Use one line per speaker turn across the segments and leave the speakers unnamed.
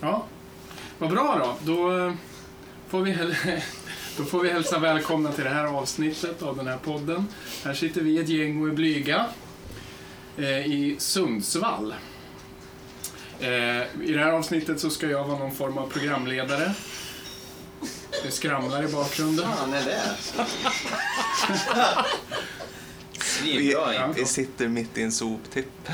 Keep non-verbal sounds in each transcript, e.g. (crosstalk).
Ja. Vad bra då. Då eh, får, vi häl- (laughs) då får vi hälsa välkomna till det här avsnittet av den här podden. Här sitter vi ett gäng och är blyga eh, i Sundsvall. Eh, I det här avsnittet så ska jag vara någon form av programledare. Det skramlar i bakgrunden.
fan är det?
Vi,
Svinbra in.
vi sitter mitt i
(laughs)
en soptipp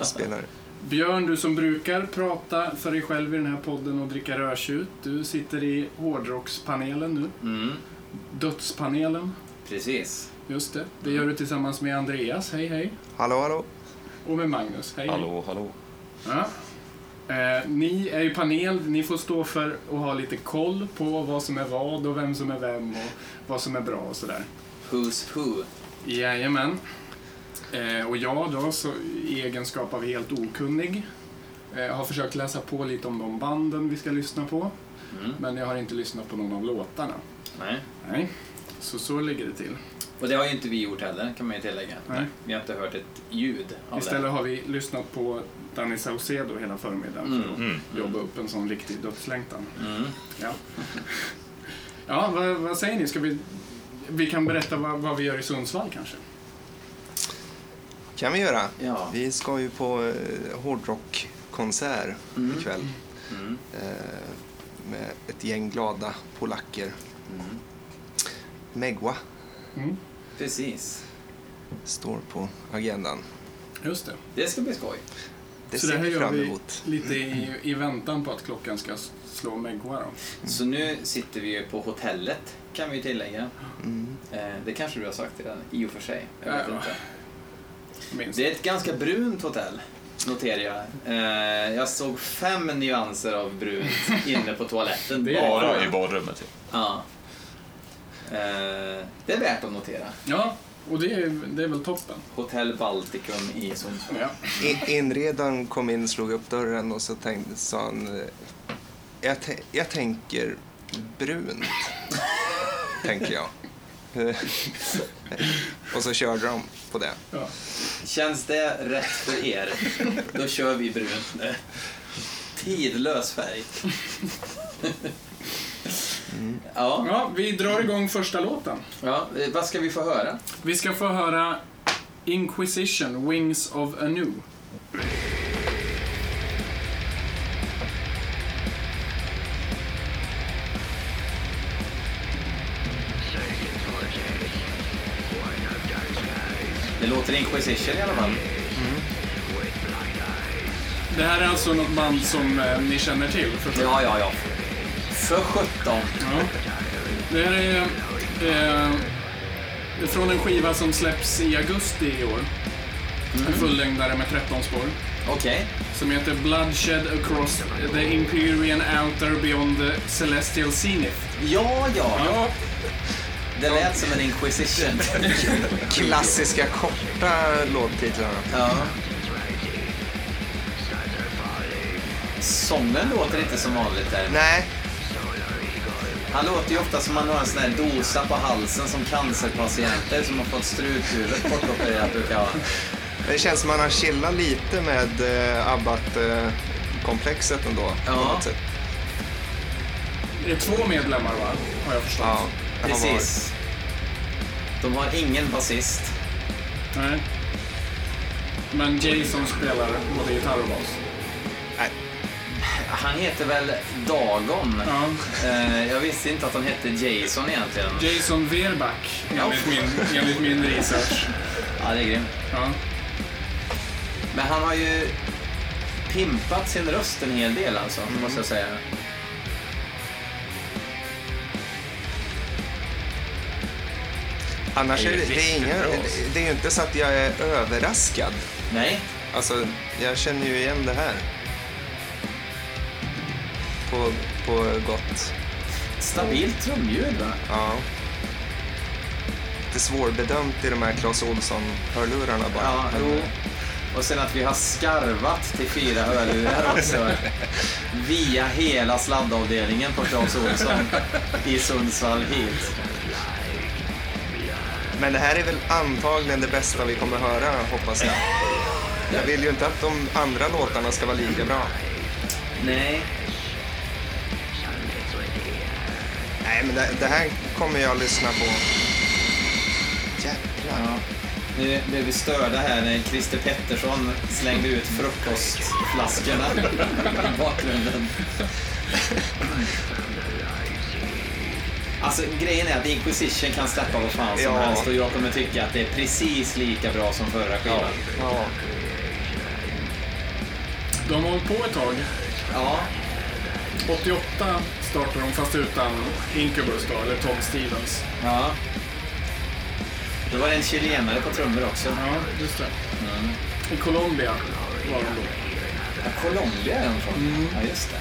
och spelar.
Björn, du som brukar prata för dig själv i den här podden och dricka rödtjut. Du sitter i hårdrockspanelen nu.
Mm,
Dödspanelen.
precis.
Just det. Det gör du tillsammans med Andreas, hej hej.
Hallå, hallå.
Och med Magnus, hej hej.
Hallå, hallå.
Ja. Eh, ni är ju panel, ni får stå för att ha lite koll på vad som är vad och vem som är vem och vad som är bra och sådär.
Who's who?
Jajamän. Eh, och jag då, så, i egenskap av helt okunnig, eh, har försökt läsa på lite om de banden vi ska lyssna på.
Mm,
Men jag har inte lyssnat på någon av låtarna.
nej.
Nej. Så så ligger det till.
Och det har ju inte vi gjort heller, kan man ju tillägga.
Nej.
Vi har inte hört ett ljud av
Istället har vi lyssnat på Danny Saucedo hela förmiddagen för att
Mm.
jobba upp en sån riktig dödslängtan.
det. Mm.
Ja, ja vad, vad säger ni? Ska vi, vi kan berätta vad, vad vi gör i Sundsvall kanske?
kan vi göra.
Ja.
Vi ska ju på eh, hårdrockkonsert
Mm.
ikväll
Mm.
eh, med ett gäng glada polacker.
Mm.
Megwa
Mm,
Precis.
står på agendan.
just det.
Det ska bli skoj.
Det
Så
ser
här
vi
gör
fram
vi
emot.
Lite i, i väntan på att klockan ska s- slå Megwa då.
Så nu sitter vi ju på hotellet, kan vi ju tillägga.
Mm.
Eh, det kanske du har sagt redan, i och för sig. Jag vet
Ja.
inte.
Minst.
Det är ett ganska brunt hotell, noterar jag. Eh, jag såg fem nyanser av brunt inne på toaletten.
Det är
Bara i badrummet.
Ja. Eh, det är värt att notera.
Ja, och det är, det är väl toppen.
Hotell Baltikum i Sundsvall.
Ja.
In, inredaren kom in, slog upp dörren och så tänkte, sa han... eh, Jag, tän- jag tänker brunt, tänker jag. Eh, och så körde de på det.
Ja.
Känns det rätt för er, då kör vi brunt nu. Tidlös färg. Ja,
ja, vi drar igång första låten.
ja, eh, vad ska vi få höra?
Vi ska få höra Inquisition, Wings of a New.
Det låter Inquisition i alla fall.
Det här är alltså något band som eh, ni känner till förstås?
Ja, ja, ja. För sjutton.
Ja. Det här är eh, från en skiva som släpps i augusti i år. En fullängdare med 13 spår.
Okej.
Som heter Bloodshed across the Empyrean outer beyond the celestial zenith.
Ja, ja.
Ja,
Det lät som en Inquisition.
Klassiska korta låttitlarna.
Ja. Sången låter inte som vanligt där.
Nej,
Han låter ju ofta som han har en sån här dosa på halsen som cancerpatienter som har fått struthuvudet bortopererat brukar ha.
det känns som man har chillat lite med eh, Abbat-komplexet ändå. på
Ja.
något sätt.
det är två medlemmar va? Har jag förstått.
ja det har varit.
Precis. De har ingen basist.
Nej. Men Jason spelar både gitarr och bas.
Nej,
Han heter väl Dagon?
Ja.
Eh, jag visste inte att han hette Jason egentligen.
Jason Verback enligt min, enligt min research.
Ja, det är grymt.
Ja.
Men han har ju pimpat sin röst en hel del alltså, måste jag säga.
Annars
Det
är
är
det,
ju
det, är
riktigt
inga,
bra.
det- det är ju inte så att jag är överraskad.
Nej,
Alltså, jag känner ju igen det här. På, på gott.
stabilt trumljud va?
Ja. Lite svårbedömt i de här Clas Ohlson-hörlurarna bara.
Ja,
Men,
jo. Och sen att vi har skarvat till fyra hörlurar också. Via hela sladdavdelningen på Clas Ohlson i Sundsvall hit.
men det här är väl antagligen det bästa vi kommer höra, hoppas jag. Jag vill ju inte att de andra låtarna ska vara lika bra.
Nej.
Nej, men det, det här kommer jag lyssna på. Jävlar.
Ja. Nu blev vi störda här när Christer Pettersson slängde ut frukostflaskorna i bakgrunden. Alltså grejen är att Inquisition kan släppa vad fan som
Ja.
helst och jag kommer tycka att det är precis lika bra som förra skivan.
Ja.
De har hållit på ett tag.
Ja,
88 startade de, fast utan Incubus då, eller Tom Stevens.
ja. Då var det en chilenare på trummor också.
Ja, just det.
Mm.
I Colombia var de då.
Ja, Colombia är den från.
Mm.
Ja, just det.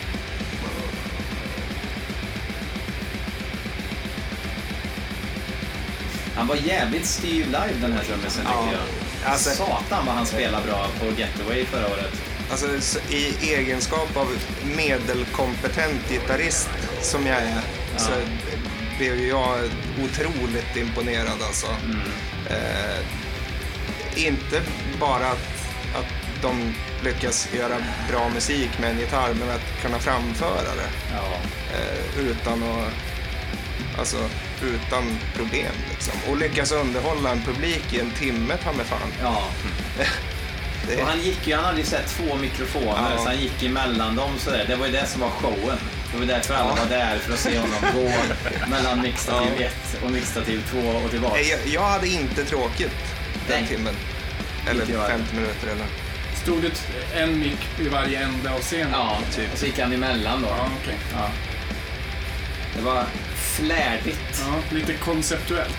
Han var jävligt styv live den här trummisen
Ja.
tycker jag.
Alltså-
Satan vad han spelade bra på Getaway förra året.
Alltså, så i egenskap av medelkompetent gitarrist som jag är så blev ju jag otroligt imponerad. Alltså. Eh, inte bara att, att de lyckas göra bra musik med en gitarr, men att kunna framföra det
Ja.
eh, utan att Alltså utan problem liksom. Och lyckas underhålla en publik i en timme, ta mig fan.
ja.
(laughs) Det,
Och han gick ju, han hade ju sett två mikrofoner
Ja.
så han gick emellan dem sådär. Det var ju det som var showen. Det var därför alla var där för att se honom
(laughs)
gå mellan mixtativ 1 och mixtativ 2 och tillbaka.
Nej, Eh, jag, jag hade inte tråkigt den
Nej.
timmen. Eller
Inte jag
50 minuter eller.
Stod det en mick i varje ände av scenen?
Ja,
Typ.
och så gick han emellan då.
Ja, okej.
Ja. Det var flärdigt.
Ja, lite konceptuellt.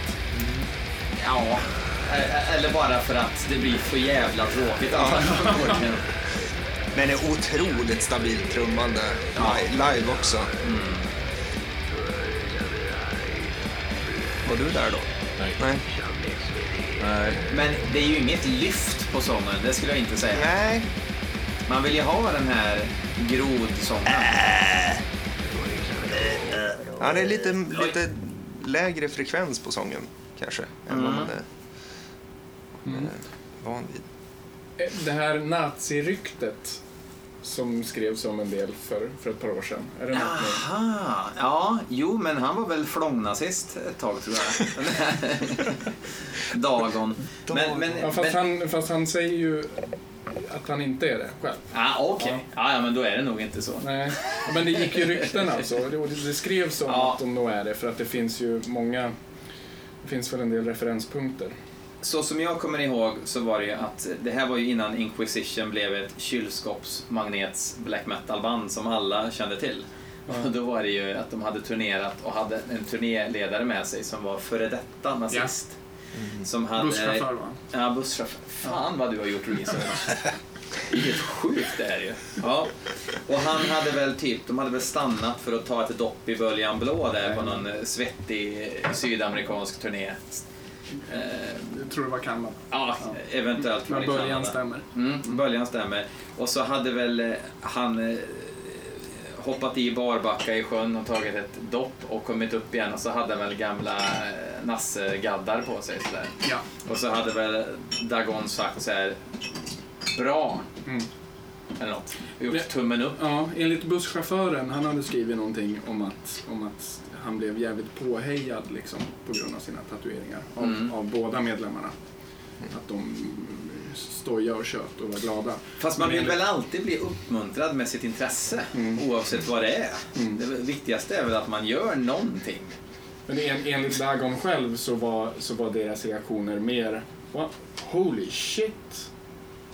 Ja. E- Eller bara för att det blir för jävla tråkigt.
Ja. Men det är otroligt stabilt trummande li- live också. Var du där då?
Nej.
Nej.
Nej.
(laughs) Men det är ju inget lyft på sången, det skulle jag inte säga.
Nej.
Man vill ju ha den här grodsången.
Ja, det är lite, lite lägre frekvens på sången kanske. Än vad
Mm.
man är eh, van vid.
Det här naziryktet som skrevs om en del för, för ett par år sedan. Är det
Ah.
något ni-
Aha, ja, jo men han var väl flångnazist ett tag tror jag. Dagon. Men, men,
Ja, fast,
men,
han, fast han säger ju att han inte är det själv.
ah, Okej, ah, ja men då är det nog inte så.
Nej, men det gick ju rykten alltså. Och Det, och det skrevs om
Ja.
att de nog är det för att det finns ju många, det finns väl en del referenspunkter.
Så som jag kommer ihåg så var det ju att det här var ju innan Inquisition blev ett kylskåpsmagnets black metal-band som alla kände till. Och då var det ju att de hade turnerat och hade en turnéledare med sig som var före detta nazist. Som hade...
Busschaufför va?
Ja, busschaufför. Fan vad du har gjort research. Det är Helt sjukt det här ju. Ja. Och han hade väl typ, de hade väl stannat för att ta ett dopp i Böljan Blå där på någon eh, svettig eh, sydamerikansk turné. Eh,
Jag tror det var Kalmar.
Ja, eventuellt.
Men
från
början
Kanada.
stämmer.
Mm, böljan stämmer. Och så hade väl eh, han eh, hoppat i barbacka i sjön och tagit ett dopp och kommit upp igen och så hade han väl gamla eh, nassegaddar på sig. Sådär.
Ja.
Och så hade väl Dagon sagt så här bra,
Mm.
eller något. Och Gjort
Ja.
tummen upp.
Ja, enligt busschauffören, han hade skrivit någonting om att, om att han blev jävligt påhejad liksom, på grund av sina tatueringar av,
Mm.
av båda medlemmarna. Att de stoja och tjöt och var glada.
Fast man
Men
vill
enligt-
väl alltid bli uppmuntrad med sitt intresse
Mm.
oavsett vad det är. Det viktigaste är väl att man gör någonting.
Men en, enligt Dagon själv så var, så var deras reaktioner mer "What? Holy shit!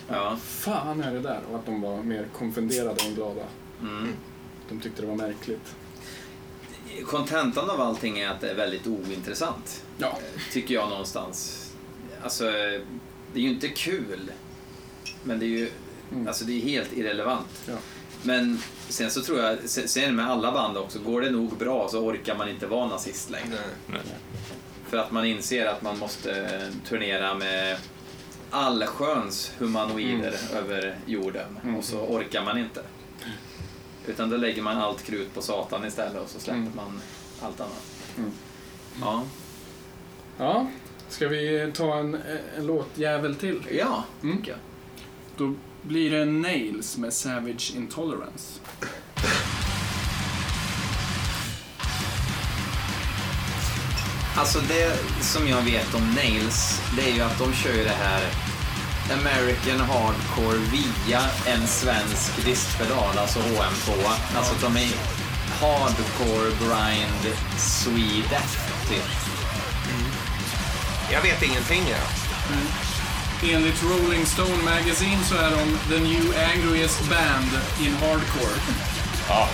Ja.
Fan är det där? Och att de var mer konfunderade än glada.
Mm.
De tyckte det var märkligt.
Kontentan av allting är att det är väldigt ointressant,
Ja.
tycker jag någonstans. Alltså, eh, det är ju inte kul, men det är ju
Mm.
alltså, det är helt irrelevant.
Ja.
Men sen så tror jag, sen sen är det med alla band också, går det nog bra så orkar man inte vara nazist längre.
Nej.
För att man inser att man måste eh, turnera med allsköns humanoider över jorden
Mm.
och så orkar man inte. Utan då lägger man allt krut på Satan istället och så släpper
Mm.
man allt annat.
Mm.
Ja.
ja. Ska vi ta en, en låtjävel till?
ja,
Mm.
tycker jag.
Då blir det Nails med Savage Intolerance.
Alltså det som jag vet om Nails, det är ju att de kör ju det här American Hardcore via en svensk distpedal, alltså HM2. Alltså de är hardcore grind Swedeth typ.
Jag vet ingenting jag.
Enligt Rolling Stone Magazine så är de the new angriest band in hardcore.
Ja,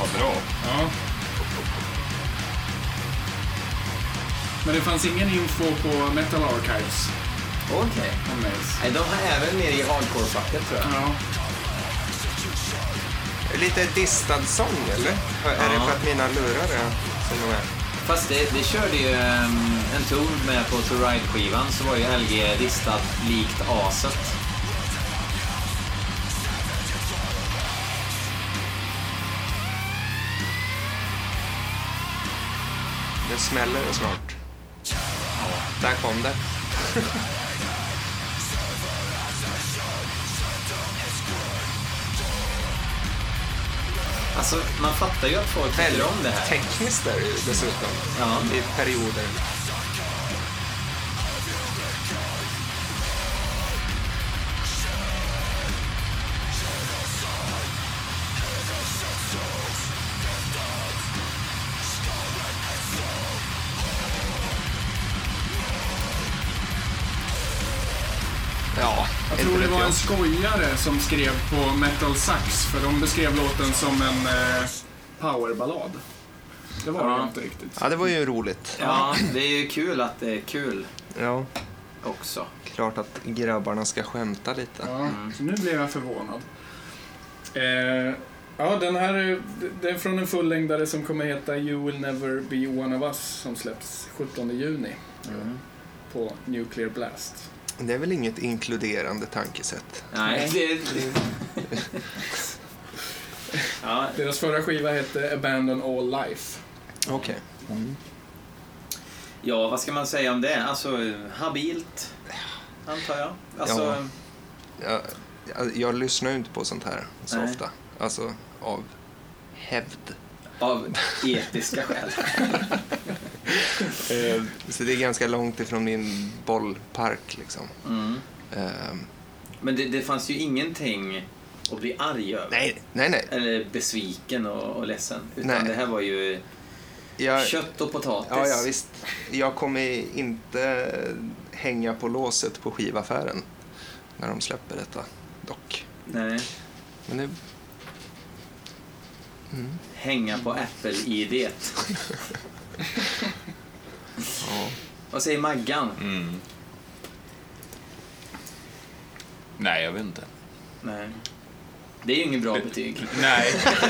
vad bra.
Ja. Men det fanns ingen info på Metal Archives
Okej.
om Nails.
Nej, De är även nere i hardcore-facket tror jag.
Ja.
Lite distad sång, eller? Är det
Ja.
för att mina lurar är som de är?
Fast det, det körde ju ehm, en ton med på To Ride-skivan så var ju LG listad likt aset.
Det smäller det snart. Där kom det.
Alltså man fattar ju att folk tycker om det här.
tekniskt är det ju dessutom.
Ja.
I perioder. Ja,
Jag
inte
tror det
vet
var
jag.
en skojare som skrev på Metal Sax för de beskrev låten som en eh, powerballad. Det var det
Ja.
ju inte riktigt.
Ja, det var ju roligt.
Ja, det är ju kul att det är kul
Ja,
också.
klart att grabbarna ska skämta lite.
Ja, så nu blev jag förvånad. Eh, ja, den här är, det är från en fullängdare som kommer heta You will never be one of us som släpps 17 juni
Mm.
på Nuclear Blast.
Det är väl inget inkluderande tankesätt?
Nej, det... (laughs) ja,
Deras förra skiva hette Abandon All Life.
Okej. Mm.
ja, vad ska man säga om det? Alltså, habilt, antar jag. Alltså,
Ja. Jag, jag, jag lyssnar ju inte på sånt här så
Nej.
ofta. Alltså, av hävd.
av etiska skäl.
Så det är ganska långt ifrån min bollpark liksom.
Mm.
Eh,
Men det, det fanns ju ingenting att bli arg över.
nej, nej, nej.
Eller besviken och, och ledsen. Utan
Nej.
det här var ju
Jag,
kött och potatis.
ja, ja, visst. Jag kommer inte hänga på låset på skivaffären när de släpper detta, dock.
Nej.
Men det,
Hänga på Apple-ID.
ja.
Vad säger Maggan?
Mm. Nej, jag vet inte.
Nej. Det är ju inget bra
(laughs)
betyg.
Nej.
(laughs)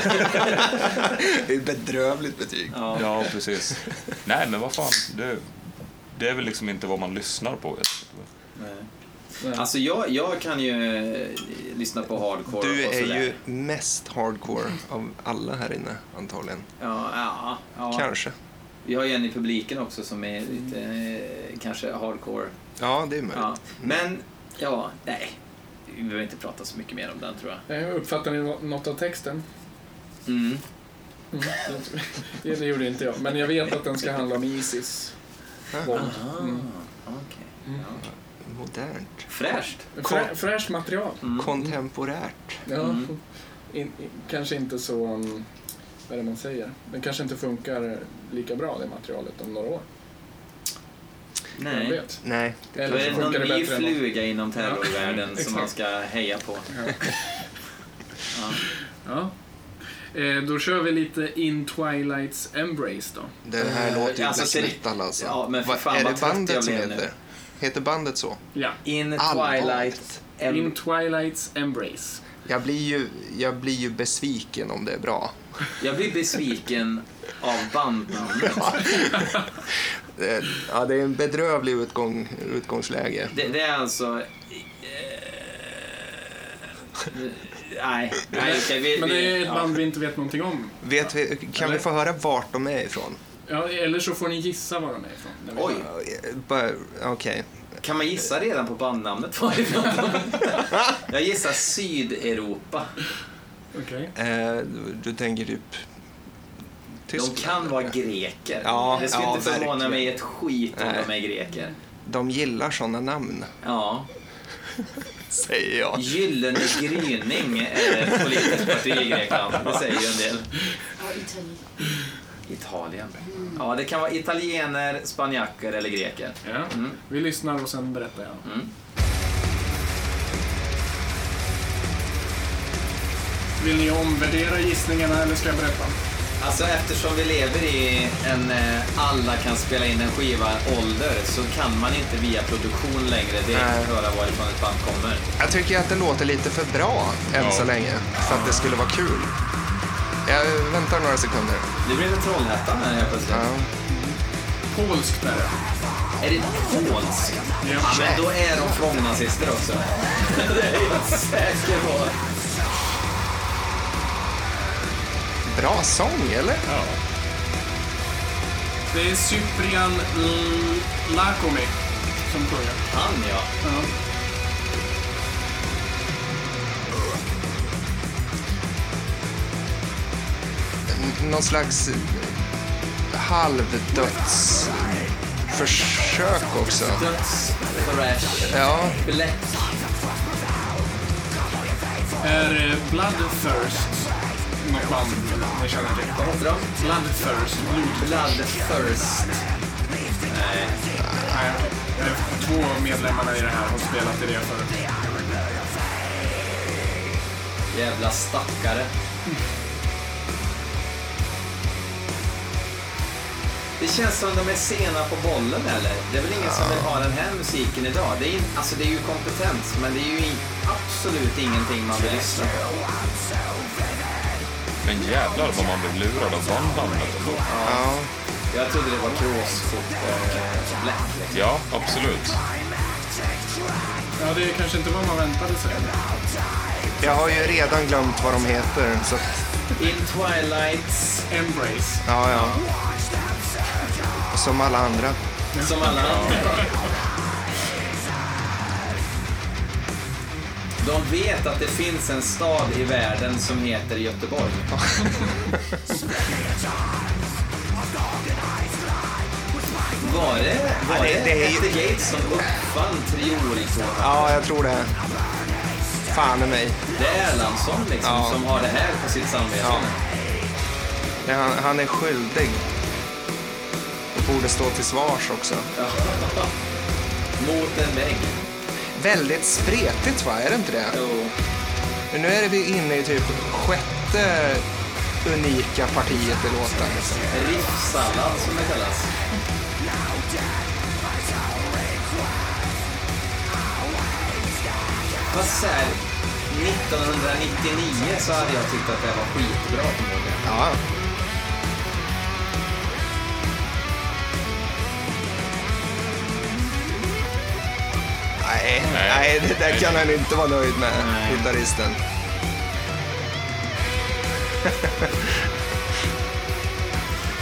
Det är ett bedrövligt betyg.
Ja.
Ja, precis. Nej, men vad fan. Det, det är väl liksom inte vad man lyssnar på.
Nej.
Nej.
Alltså jag, jag kan ju eh, lyssna på hardcore
Du
och
är
sådär.
ju mest hardcore av alla här inne, antagligen.
Ja, ja, ja.
Kanske.
Vi har ju en i publiken också som är lite eh, kanske hardcore.
Mm. Ja, det är möjligt.
Ja. Men, ja, nej. Vi behöver inte prata så mycket mer om den tror jag.
Eh, Uppfattar ni nå- något av texten?
Mm.
Mm. (laughs) det det gjorde inte jag, men jag vet att den ska handla om Isis. Våld.
Ah,
Mm.
okej.
Mm.
Ja.
Modernt.
Fräscht.
Frä, fräscht material.
Mm.
Kontemporärt.
Ja.
Mm.
In, in, kanske inte så... mm, Vad är det man säger? Den kanske inte funkar lika bra, det materialet, om några år. Vem
Nej.
vet?
Nej.
Då
Eller
är
så
det någon
funkar det
ny
bättre än någon.
fluga
(laughs)
inom terrorvärlden som
exakt.
man ska heja på.
Ja.
Ja.
Ja. Eh, då kör vi lite In Twilights Embrace då.
Den här
Eh,
låter ju
alltså,
black
ser-
metal alltså.
Ja, men för
Vad-
fan,
är
vad
det
trött jag
bandet som
blev nu.
heter? Heter bandet så?
Ja.
In
Allvarligt.
Twilight.
In
Em-
Twilights Embrace.
Jag blir, ju, jag blir ju besviken om det är bra.
Jag blir besviken av bandnamnet.
Eh, Ja, det är en bedrövlig utgång, utgångsläge.
Det, det är alltså... eh, Nej, nej okej. vi,
Men det är
vi,
ett
ja.
band vi inte vet någonting om.
Vet vi, kan
Eller?
vi få höra vart de är ifrån?
Ja, eller så får ni gissa var de är ifrån. när vi-
Oj.
Eh, bara- Okej.
Kan man gissa redan på bandnamnet (laughs) varifrån de- Jag gissar Sydeuropa.
Okej.
Eh, du tänker typ
De
Tyskland?
kan vara greker.
Ja,
det skulle
ja,
inte förvåna
verkligen.
mig ett skit om
Nej.
de är greker.
De gillar sådana namn,
Ja.
säger jag.
Gyllene gryning är ett politiskt parti i Grekland. Det säger ju en del.
Ja, Italien.
Italien. Ja, det kan vara italiener, spanjacker eller greker.
Ja.
Mm.
Vi lyssnar och sen berättar jag.
Mm.
Vill ni omvärdera gissningarna eller ska jag berätta?
Alltså eftersom vi lever i en eh, alla kan spela in en skiva ålder så kan man inte via produktion längre
Nej.
direkt höra varifrån ett band kommer.
Jag tycker att det låter lite för bra än
Ja.
så länge för att det skulle vara kul. Jag väntar några sekunder.
Det blir väl Trollhättan här helt plötsligt.
Ja.
Polskt är det.
Är det polskt?
Ja.
Ja, men då är de frångnazister också. (laughs) det är jag säker på.
Bra sång, eller?
Ja.
Det är Cyprian L- Lakomi som sjunger.
Han ja.
Ja.
N- Någon slags halvdödsförsök också.
Döds, thrash,
Ja,
black.
Är eh, Bloodthirst något band ni känner till?
Vad heter de?
Bloodthirst, blod.
Bloodthirst. Nej.
Nej, det är två medlemmar i det här har spelat i det förut.
Jävla stackare. Det känns som de är sena på bollen eller? Det är väl ingen som vill ha den här musiken idag? Det är, in, alltså det är ju kompetens men det är ju in, absolut ingenting man vill lyssna på.
Men jävlar vad man blev lurad av bandnamnet ändå.
ja.
Jag trodde det var crossfot-black. liksom.
Ja, absolut.
Ja, det är kanske inte vad man väntade sig.
Jag har ju redan glömt vad de heter. Så att,
In Twilights,
Embrace.
ja, ja. Som alla andra.
som alla andra. De vet att det finns en stad i världen som heter Göteborg. Var det, var
Ja,
det,
det- det är ju-
Peter Gates som uppfann triolikonen?
Ja, jag tror det. Fan i mig.
Det är Erlandsson liksom
Ja.
som har det här på sitt samvete.
Ja. Det- Han, han är skyldig. Och borde stå till svars också.
Mot en vägg.
Väldigt spretigt, va? Är det inte det?
Jo.
Nu är vi inne i typ sjätte unika partiet i låten. Liksom.
Riffsallad som det kallas. Fast så här, 1999 så hade jag tyckt att det här var skitbra förmodligen.
Ja. Nej,
Nej.
nej, det där kan han inte vara nöjd med,
Nej.
gitarristen.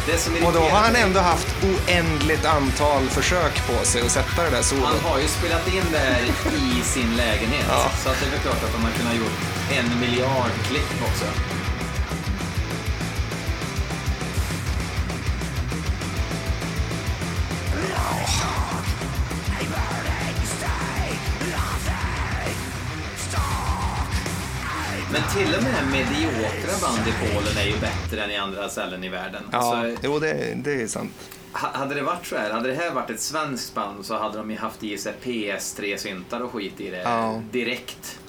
Det som
Och då har han
irriterar mig-
ändå haft oändligt antal försök på sig att sätta det där
Han
solot.
har ju spelat in det här i sin lägenhet.
Ja.
Så att det är väl klart att de har kunnat gjort en miljard klipp också. Men till och med mediokra band i Polen är ju bättre än i andra ställen i världen.
Ja,
Alltså,
jo, det, det är sant.
Ha- Hade det varit så här, hade det här varit ett svenskt band så hade de ju haft i sig PS3-syntar och skit i det
Ja.
direkt.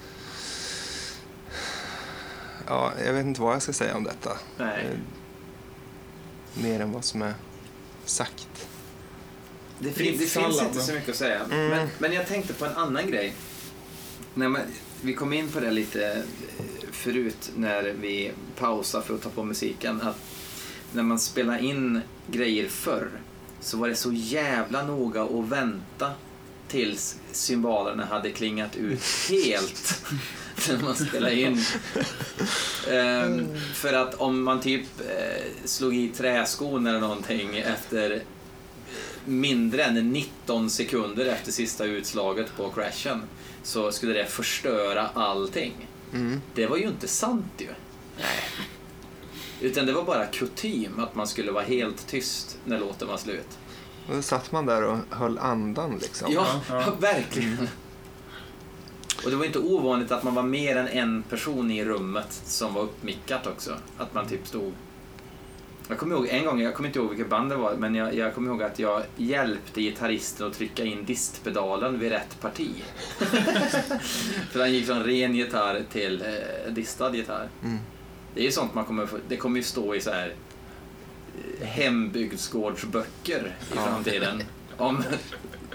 Ja, jag vet inte vad jag ska säga om detta.
Nej.
Eh, Mer än vad som är sagt.
Det, fin- det finns
Rikssallad.
inte så mycket att säga. Men, men jag tänkte på en annan grej. Nej, men, vi kom in på det lite eh, förut när vi pausade för att ta på musiken. Att när man spelade in grejer förr så var det så jävla noga att vänta tills cymbalerna hade klingat ut helt när man spelade in. Ehm, för att om man typ eh, slog i träskon eller någonting efter mindre än 19 sekunder efter sista utslaget på crashen så skulle det förstöra allting.
Mm.
Det var ju inte sant ju. Utan det var bara kutym att man skulle vara helt tyst när låten var slut.
Och då satt man där och höll andan liksom.
Ja,
Ja, ja.
verkligen. Och det var inte ovanligt att man var mer än en person i rummet som var uppmickat också. Att man typ stod... Jag kommer ihåg en gång, jag kommer inte ihåg vilket band det var, men jag, jag kommer ihåg att jag hjälpte gitarristen att trycka in distpedalen vid rätt parti. För han gick från ren gitarr till eh, distad gitarr.
Mm.
Det är ju sånt man kommer få, det kommer ju stå i så här eh, hembygdsgårdsböcker i
Ja. (laughs)
framtiden om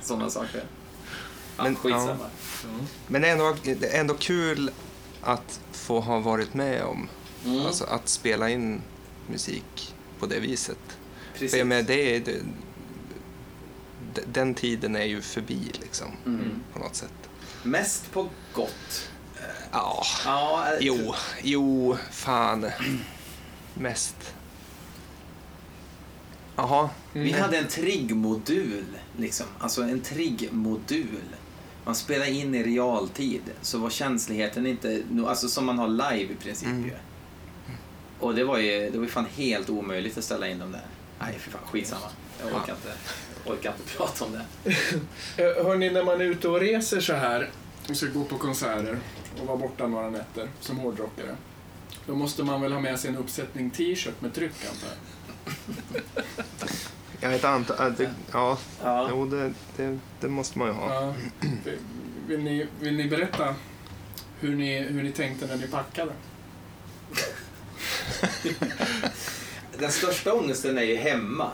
sådana saker. Ja,
Men-
Men, skitsamma.
Men det är, ändå, det är ändå kul att få ha varit med om.
Mm,
Alltså att spela in musik på det viset. För
precis.
jag menar, det är, det, d- den tiden är ju förbi liksom.
Mm.
På något sätt.
Mest på gott.
Ja,
Ja, eh,
jo, jo, fan. Mest. Jaha.
Vi hade en triggmodul, liksom. Alltså en triggmodul. Man spelade in i realtid, så var känsligheten inte... no- Alltså som man har live i princip
Mm.
ju. Och det var ju det var ju fan helt omöjligt att ställa in dem där. Nej, för fan, skitsamma. Jag orkar inte, jag orkar inte prata om det.
Eh, Hörni, när man är ute och reser så här och ska gå på konserter och vara borta några nätter som hårdrockare. Då måste man väl ha med sig en uppsättning t-shirt med tryck antar jag.
Jag vet inte. äh, det- Ja,
Ja.
jo, det, det, det måste man ju ha.
Ja. Vill, ni, vill ni berätta hur ni, hur ni tänkte när ni packade?
Den största ångesten är ju hemma.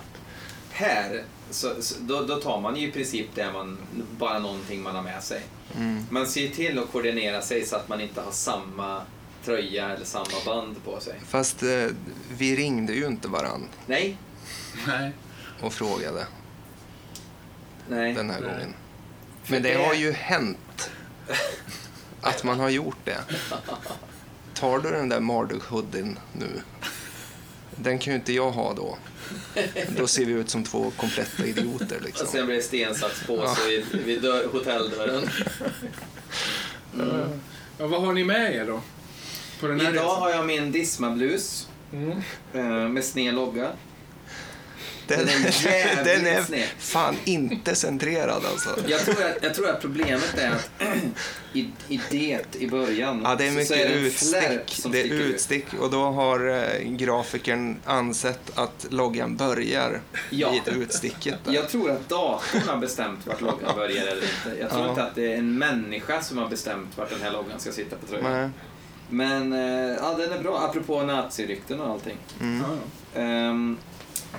Här, så, så, då, då tar man ju i princip det man, bara någonting man har med sig.
Mm.
Man ser ju till att koordinera sig så att man inte har samma tröja eller samma band på sig.
Fast eh, vi ringde ju inte varann
Nej,
Nej.
och frågade
nej.
den här
Nej.
gången.
För
Men det
det-
har ju hänt att man har gjort det. Tar du den där Marduk-hoodien nu? Den kan ju inte jag ha då. Då ser vi ut som två kompletta idioter
Och sen
liksom.
blir det sten, sax, påse vid, vid dörr, hotelldörren.
Ja, vad har ni med er då? På den här
Idag
resan?
har jag min Disma-blus
Mm.
eh, med sned logga.
Den,
Den är jävligt
den är
sned.
fan inte centrerad alltså.
Jag tror att, jag tror att problemet är att (clears throat) i, i det i början
Ja, det är
så-
mycket
så är det en flärp
utstick.
som
Det är
sticker ut.
utstick och då har eh, grafikern ansett att loggan börjar
Ja.
vid utsticket. Där.
Jag tror att datorn har bestämt vart loggan börjar eller inte. Jag tror
Ja.
inte att det är en människa som har bestämt vart den här loggan ska sitta på tröjan.
Nej.
Men eh, ja, den är bra, apropå nazirykten och allting.
Mm.
Ja, ja.
Ehm,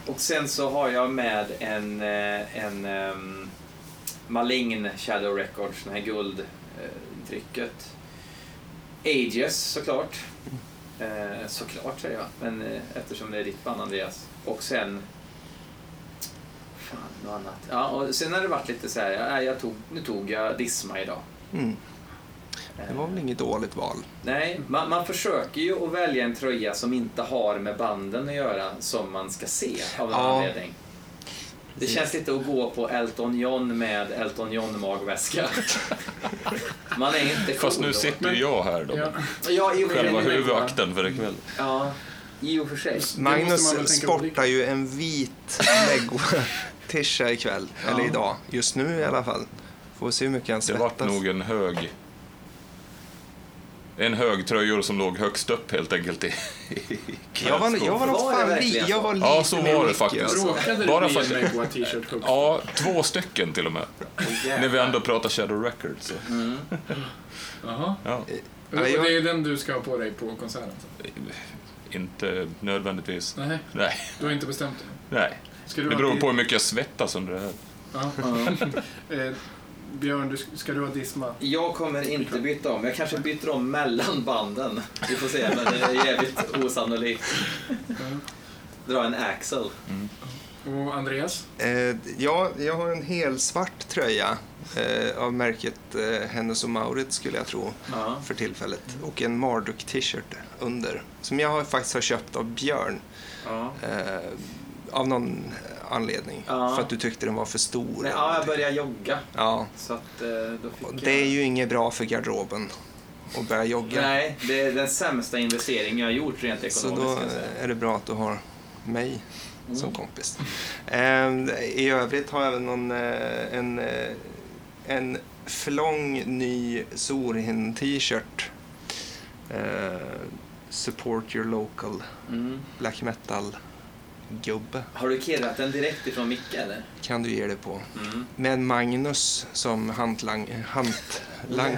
och sen så har jag med en, eh, en ehm, malign Shadow Records, det här guldtrycket. Ages såklart. Eh, såklart säger jag, men eh, eftersom det är ditt band Andreas. Och sen... Fan, något annat. Ja, och sen har det varit lite så här, ja, jag tog, nu tog jag Disma idag.
Mm.
Eh,
Det var väl inget dåligt val.
Nej, man, man försöker ju att välja en tröja som inte har med banden att göra som man ska se av någon
Ja.
anledning. Det känns lite att gå på Elton John med Elton
(laughs)
John-magväska. Man är inte cool
Fast nu
då.
sitter ju jag här då.
Ja.
Ja, i och för
Själva
sig.
huvudakten för ikväll.
Ja, i och för sig.
man väl
Magnus
tänka
sportar ju en vit (laughs) Lego-tisha ikväll, eller idag. Just nu i alla fall. Får se hur mycket han
Det vart
svettas.
nog en hög... En hög tröjor som låg högst upp helt enkelt i, i
Jag var, jag var nog
Var det
fan li,
verkligen
jag
så?
var lite
Ja, så
mer
var det
Micke,
faktiskt.
alltså.
Råkade det
Bara
bli
för att-
en Megwa t-shirt högst?
Ja, två stycken till och med.
Åh, jävlar.
När vi ändå pratar Shadow Records. Så.
Mm.
Jaha.
Ja.
Och
Nej, jag-
det är den du ska ha på dig på konserten? så?
Inte nödvändigtvis.
Nej,
Nej,
du har inte bestämt dig?
nej.
Ska du
Det
ha
beror
di-
på hur mycket jag svettas under det här.
Ja. Eh, Björn, du, ska du ha disma?
Jag kommer inte byta om. Jag kanske byter om mellan banden. Vi får se, men det är jävligt osannolikt.
(laughs)
Dra en axel.
Och Andreas?
Eh, ja, jag har en hel svart tröja eh, av märket eh, Hennes och Mauritz skulle jag tro
Ja.
för tillfället. Och en Marduk t-shirt under. Som jag har, faktiskt har köpt av Björn.
Ja.
Eh, av någon anledning.
Ja.
För att du tyckte den var för stor.
Nej, ja,
eller
jag
någonting.
började jogga.
ja.
Så att eh, då fick
Och
jag...
det är ju inget bra för garderoben att börja jogga.
Nej, det är den sämsta investering jag har gjort rent ekonomiskt.
Så då
kan jag säga.
är det bra att du har mig
Mm.
som kompis. Ehm, I övrigt har jag även någon, eh, en, eh, en flång ny Sorhin t-shirt. Eh, support your local
Mm.
black metal gubbe
Har du kirrat den direkt ifrån Micke eller?
kan du ge det på.
Mm.
Med en Magnus som hantlang,
(laughs)
hantlang.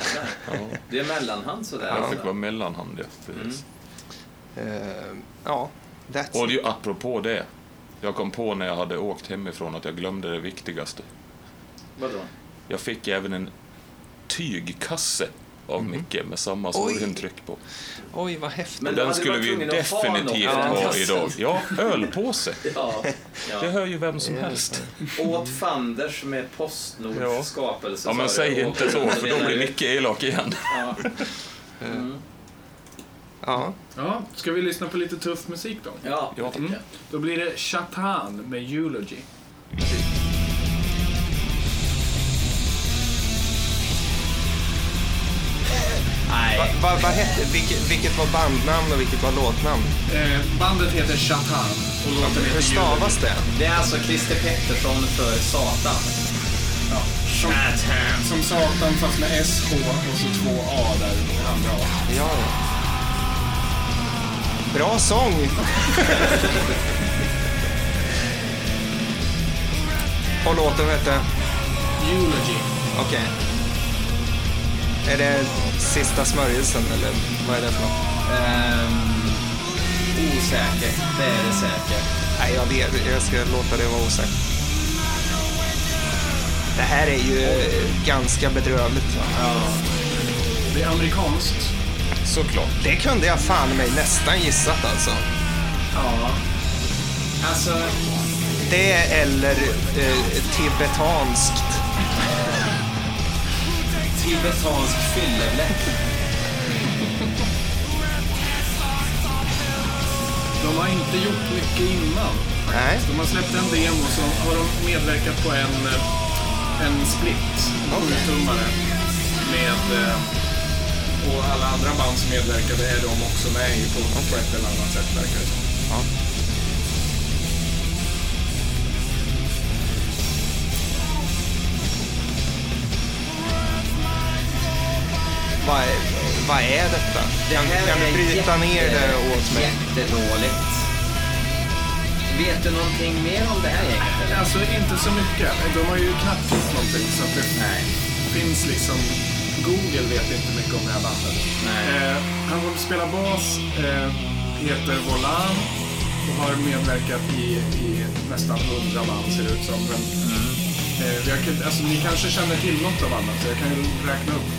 Jävlar. Du är mellanhand sådär.
Jag fick
alltså.
vara mellanhand, ja. Precis.
Mm.
Ehm, ja, that's
Och ju, apropå det. Jag kom på när jag hade åkt hemifrån att jag glömde det viktigaste.
Vadå?
Jag fick även en tygkasse av Micke med samma sorgentryck på.
Oj, vad häftigt.
Mhm. Men då
Den
hade du
skulle
varit
vi ju
tvungen att ha något i
definitivt
den
ha
kassen.
idag. Ja, ölpåse.
Ja.
Det
ja.
hör ju vem som helst.
Åt Fanders med Postnords
Ja.
skapelse.
Ja, men
sa du.
säg
Och-
inte så, för då
menar
blir
du-
Micke elak igen.
Ja. Mm.
Ja,
Ja, ska vi lyssna på lite tuff musik då?
Ja,
Ja.
det tycker jag.
Då blir det Chatan med Eulogy.
Nej.
Vad va, vad hette, vilket, vilket var bandnamn och vilket var låtnamn?
Eh, bandet heter Chatan och låten heter
Hur
Eulogy.
stavas det?
Det är alltså Christer Pettersson för Satan.
Som, som Satan fast med SH och så två A där på andra A.
Ja. Bra sång! och låten hette?
Eulogy.
Okej. Är det sista smörjelsen eller vad är det för något?
Ehm, osäker, det är det säkert.
Nej, jag vet. Jag ska låta det vara osäkert. Det här är ju eh, ganska bedrövligt. Va?
Det är amerikanskt.
Såklart.
Det kunde jag fan mig nästan gissat alltså.
Ja. Alltså,
Det eller eh, tibetanskt.
tibetansk fyllebläck.
De har inte gjort mycket innan.
Nej.
De har släppt en demo och så har de medverkat på en, eh, en split, en sjutummare. Med, eh, och alla andra band som medverkade är de också med i på, på ett eller annat sätt verkar det som.
Vad är, vad är detta?
Det
Kan,
här
kan
är
du bryta
jätte-
ner det åt mig?
Jättedåligt. Vet du någonting mer om det här gänget? eller?
Alltså inte så mycket. De har ju knappt gjort någonting så att det finns liksom... Google vet inte mycket om det här bandet.
Nej.
Eh, han som spelar bas eh, heter Volan och har medverkat i, i nästan hundra band ser det ut som. Men, eh, jag kan, alltså, ni kanske känner till något av annat så jag kan ju räkna upp.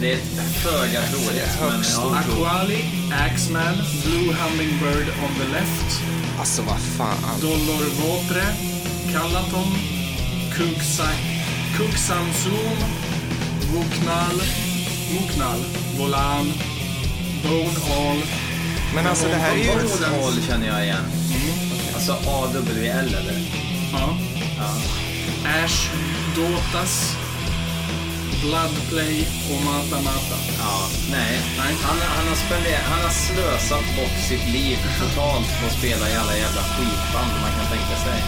Det är ett föga dåligt, men ja.
Aquali, Axman, Blue Hummingbird on the Left,
Alltså vad fan.
Dolor Votre, Kallaton, Kuksa- Kuksamsum, Vuknal, Muknal, Volan, Bone All.
Men alltså det här är ju...
Håll känner jag igen. Alltså AWL eller?
Ja. Ash, Dotas, Bloodplay och Mata Mata.
Ja. Nej.
Nej.
Han, han, har spenderat, han har slösat bort sitt liv totalt på att spela i alla jävla skitband man kan tänka sig.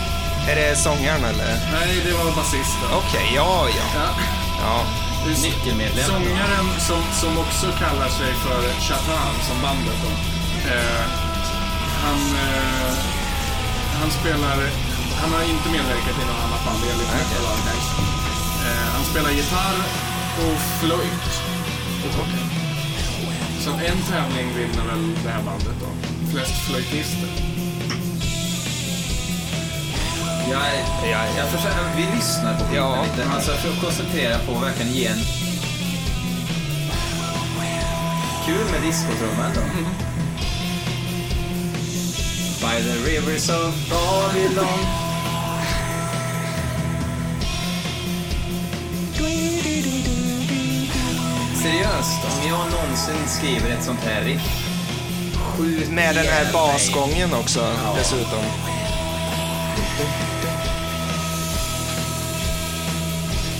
Är det sångaren eller?
Nej, det var basisten.
Okej, ja, ja.
Ja.
ja.
Just-
Nyckelmedlem.
Sångaren som, som också kallar sig för Chatan, som bandet då. Eh, han, eh, han spelar... Han har inte medverkat i något annat band, enligt okay. eh, Han spelar gitarr och flöjt. Så en tävling vinner väl det här bandet då. Flest flöjtister.
Jag,
Ja, ja.
jag försöker, vi lyssnar på skiten
Ja.
lite. Alltså för att koncentrera på och verkligen ge en... Kul med discotrumman då.
Mm.
By the rivers of Babylon. Seriöst, om jag någonsin skriver ett sånt här riff
Med den här basgången också
Ja.
dessutom.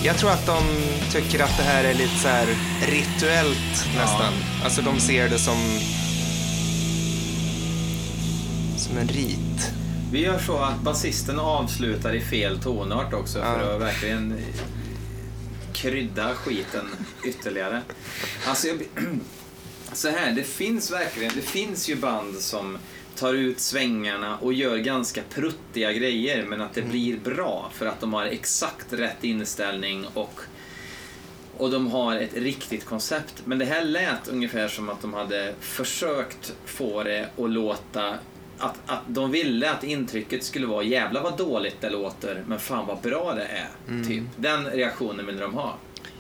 Jag tror att de tycker att det här är lite så här rituellt nästan. Alltså de ser det som som en rit.
Vi gör så att basisten avslutar i fel tonart också för att verkligen krydda skiten ytterligare. Alltså, jag, (clears throat) så här, det finns verkligen, det finns ju band som tar ut svängarna och gör ganska pruttiga grejer men att det blir bra för att de har exakt rätt inställning och, och de har ett riktigt koncept. Men det här lät ungefär som att de hade försökt få det att låta att, att de ville att intrycket skulle vara jävla vad dåligt det låter men fan vad bra det är.
Mm.
Typ. Den reaktionen vill de ha.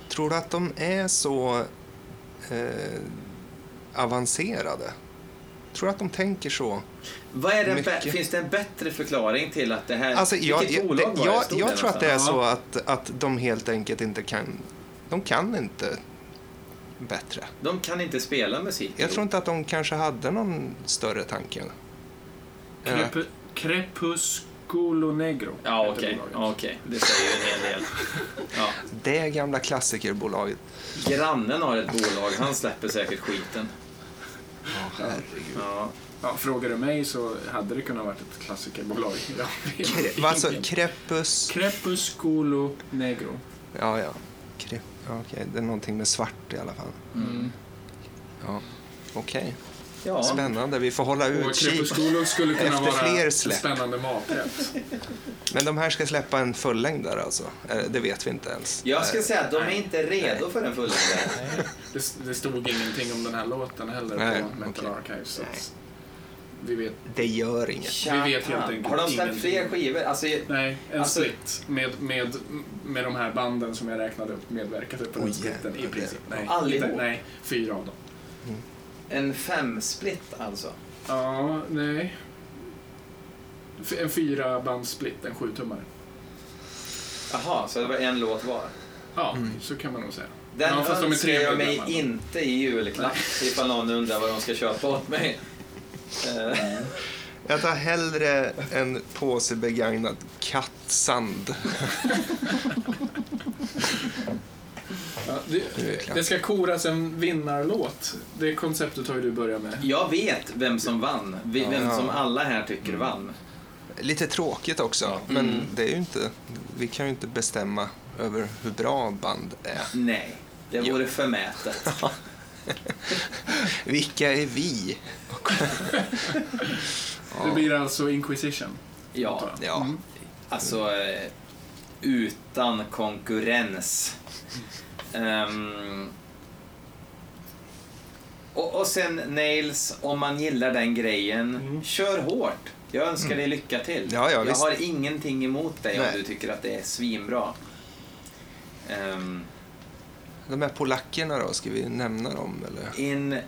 Tror du att de är så eh, avancerade? Tror du att de tänker så?
Vad är den
Mycket.
bä- finns det en bättre förklaring till att det här...
Alltså, jag,
vilket
jag,
bolag
det,
var det? alltså?
jag,
Stod
jag tror att det är så
någonstans?
att, att de helt enkelt inte kan. De kan inte bättre.
Ja. De kan inte spela musik.
Jag tror inte att de kanske hade någon större tanke. än att-
Crepe, Crepusculo Negro.
Ja,
heter
okej.
bolaget.
ja, okej. Det säger ju en hel del. Ja.
Eh, Det gamla klassikerbolaget.
Grannen har ett bolag, han släpper säkert skiten. Ja.
Ja, frågar du mig så hade det kunnat varit ett klassikerbolag. Ja,
Kre, alltså krepus...
Crepusculo Negro.
Ja, ja. Kre, ja, okej. Det är någonting med svart i alla fall. Ja. Okej.
Mm. ja.
Spännande. Vi får hålla
Och
utkik.
Crepusculo skulle kunna
Efter
vara
fler
en
släpp.
spännande maträtt.
Men de här ska släppa en fullängdare alltså? Eh, Det vet vi inte ens.
Jag
Eh,
ska säga att de är inte redo för
(laughs)
en fullängdare.
Det, det stod ingenting om den här låten heller
Nej,
på Metal
okej.
Archive. Så att vi vet,
Eh, Det gör inget.
Vi vet helt enkelt
Har de släppt
ingenting.
fler skivor? Alltså,
nej, en
Alltså-
split med, med, med de här banden som jag räknade upp medverkade på den
Oj,
splitten i
jävlar.
princip. Nej,
Allihop?
inte- nej, fyra av dem.
en fem-split alltså.
Ja, nej. F- En fyra bandsplit, en sjutummare.
Jaha, så det var en låt var.
Ja, så kan man nog säga.
Den
ja, fast de är
önskar
tre
jag mig
medlemmar.
inte i julklapp ifall någon undrar vad de ska köpa åt mig. Eh,
Jag tar hellre en påse begagnad kattsand.
Ja,
Det är
det,
klart.
det ska koras en vinnarlåt. Det konceptet har ju du börjat med.
Jag vet vem som vann, Vi- vem
Ja.
som alla här tycker
Mm.
vann.
Lite tråkigt också, men
Mm.
det är ju inte... Vi kan ju inte bestämma över hur bra band är.
Nej, det vore förmätet.
(laughs)
Vilka är vi?
Det blir alltså Inquisition. Mm.
Ja,
Ja,
alltså eh, utan konkurrens. Ehm, och, och sen Nails, om man gillar den grejen, kör hårt. Jag önskar dig lycka till.
Mm. Ja, ja,
jag
visst.
har ingenting emot dig
Nej.
om du tycker att det är svinbra. Ehm,
de här polackerna då, ska vi nämna dem eller?
in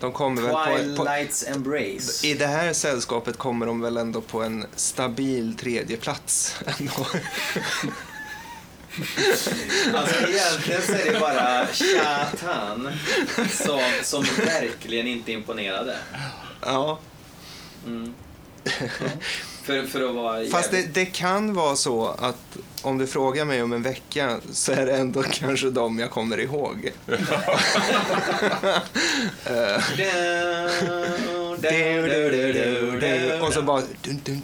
De kommer väl på, på,
Twilight's Embrace.
(laughs) I det här sällskapet kommer de väl ändå på en stabil tredje plats ändå.
Alltså egentligen så är det bara Chatan som, som verkligen inte imponerade.
Ja,
För, för att vara
fast det,
jävligt-
det kan vara så att om du frågar mig om en vecka så är det ändå kanske de jag kommer ihåg.
Du, du, du, du, du.
Och så bara... Dun, dun,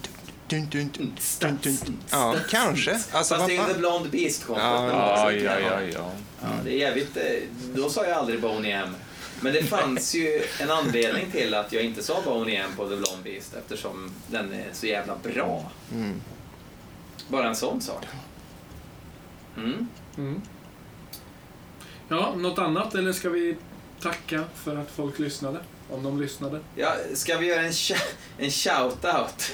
dun, dun, dun, dun, dun. Ja, kanske. Alltså,
Fast
vad
det är ju The
fan?
Blonde Beast kom
Ja,
Ja, ja, ja, ja.
Ja, det är jävligt... eh, Då sa jag aldrig Boney M. Men det fanns ju en anledning till att jag inte sa Boney M på The Blonde Beast eftersom den är så jävla bra.
Mm.
Bara en sån sak. Mm.
Ja, något annat eller ska vi tacka för att folk lyssnade? Om de lyssnade.
Ja, ska vi göra en, sh- en shout-out?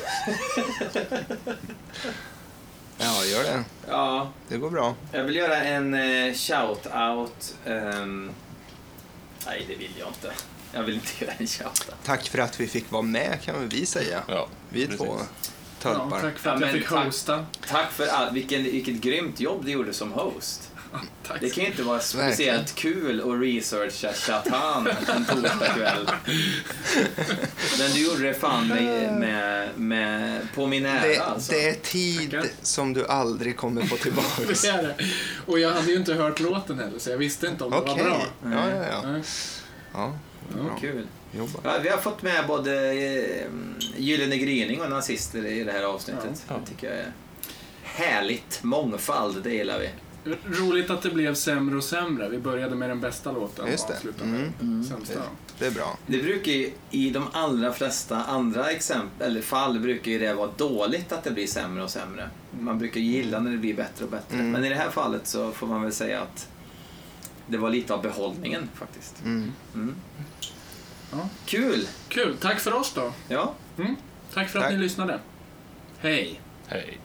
Ja, gör det.
Ja,
Det går bra.
jag vill göra en eh, shout-out. ehm, nej, det vill jag inte. Jag vill inte göra en shout-out.
Tack för att vi fick vara med kan vi säga.
ja.
Vi
precis.
två
Ja,
tölpar.
tack för
Ja,
att
men
jag fick
tack.
hosta.
Tack för allt. Vilken, vilket grymt jobb du gjorde som host.
Tack.
Det kan ju inte vara speciellt kul att researcha Chatan en
(laughs)
torsdagkväll. Men du gjorde det fan med, med, med, på min ära
Det,
alltså.
det är tid
Tackar.
som du aldrig kommer få
Det
tillbaka.
är det. Och jag hade ju inte hört låten heller, så jag visste inte om det var
Okej.
bra.
Ja, ja, ja.
Nej.
ja. Bra
Kul.
jobbat.
Ja, vi har fått med både eh, Gyllene Gryning och nazister i det här avsnittet.
Ja.
Det tycker jag är härligt. Mångfald, det gillar vi.
R- Roligt att det blev sämre och sämre. Vi började med den bästa låten
Just
och
det.
avslutade med
Mm.
den sämsta.
Det är bra.
Det brukar ju, i de allra flesta andra exempel, eller fall brukar ju det vara dåligt att det blir sämre och sämre. Man brukar ju gilla när det blir bättre och bättre.
Mm.
Men i det här fallet så får man väl säga att det var lite av behållningen faktiskt.
Mm.
Mm.
Ja.
Kul!
Kul, tack för oss då.
Ja.
Tack för att
Tack.
ni lyssnade. Hej.
Hej.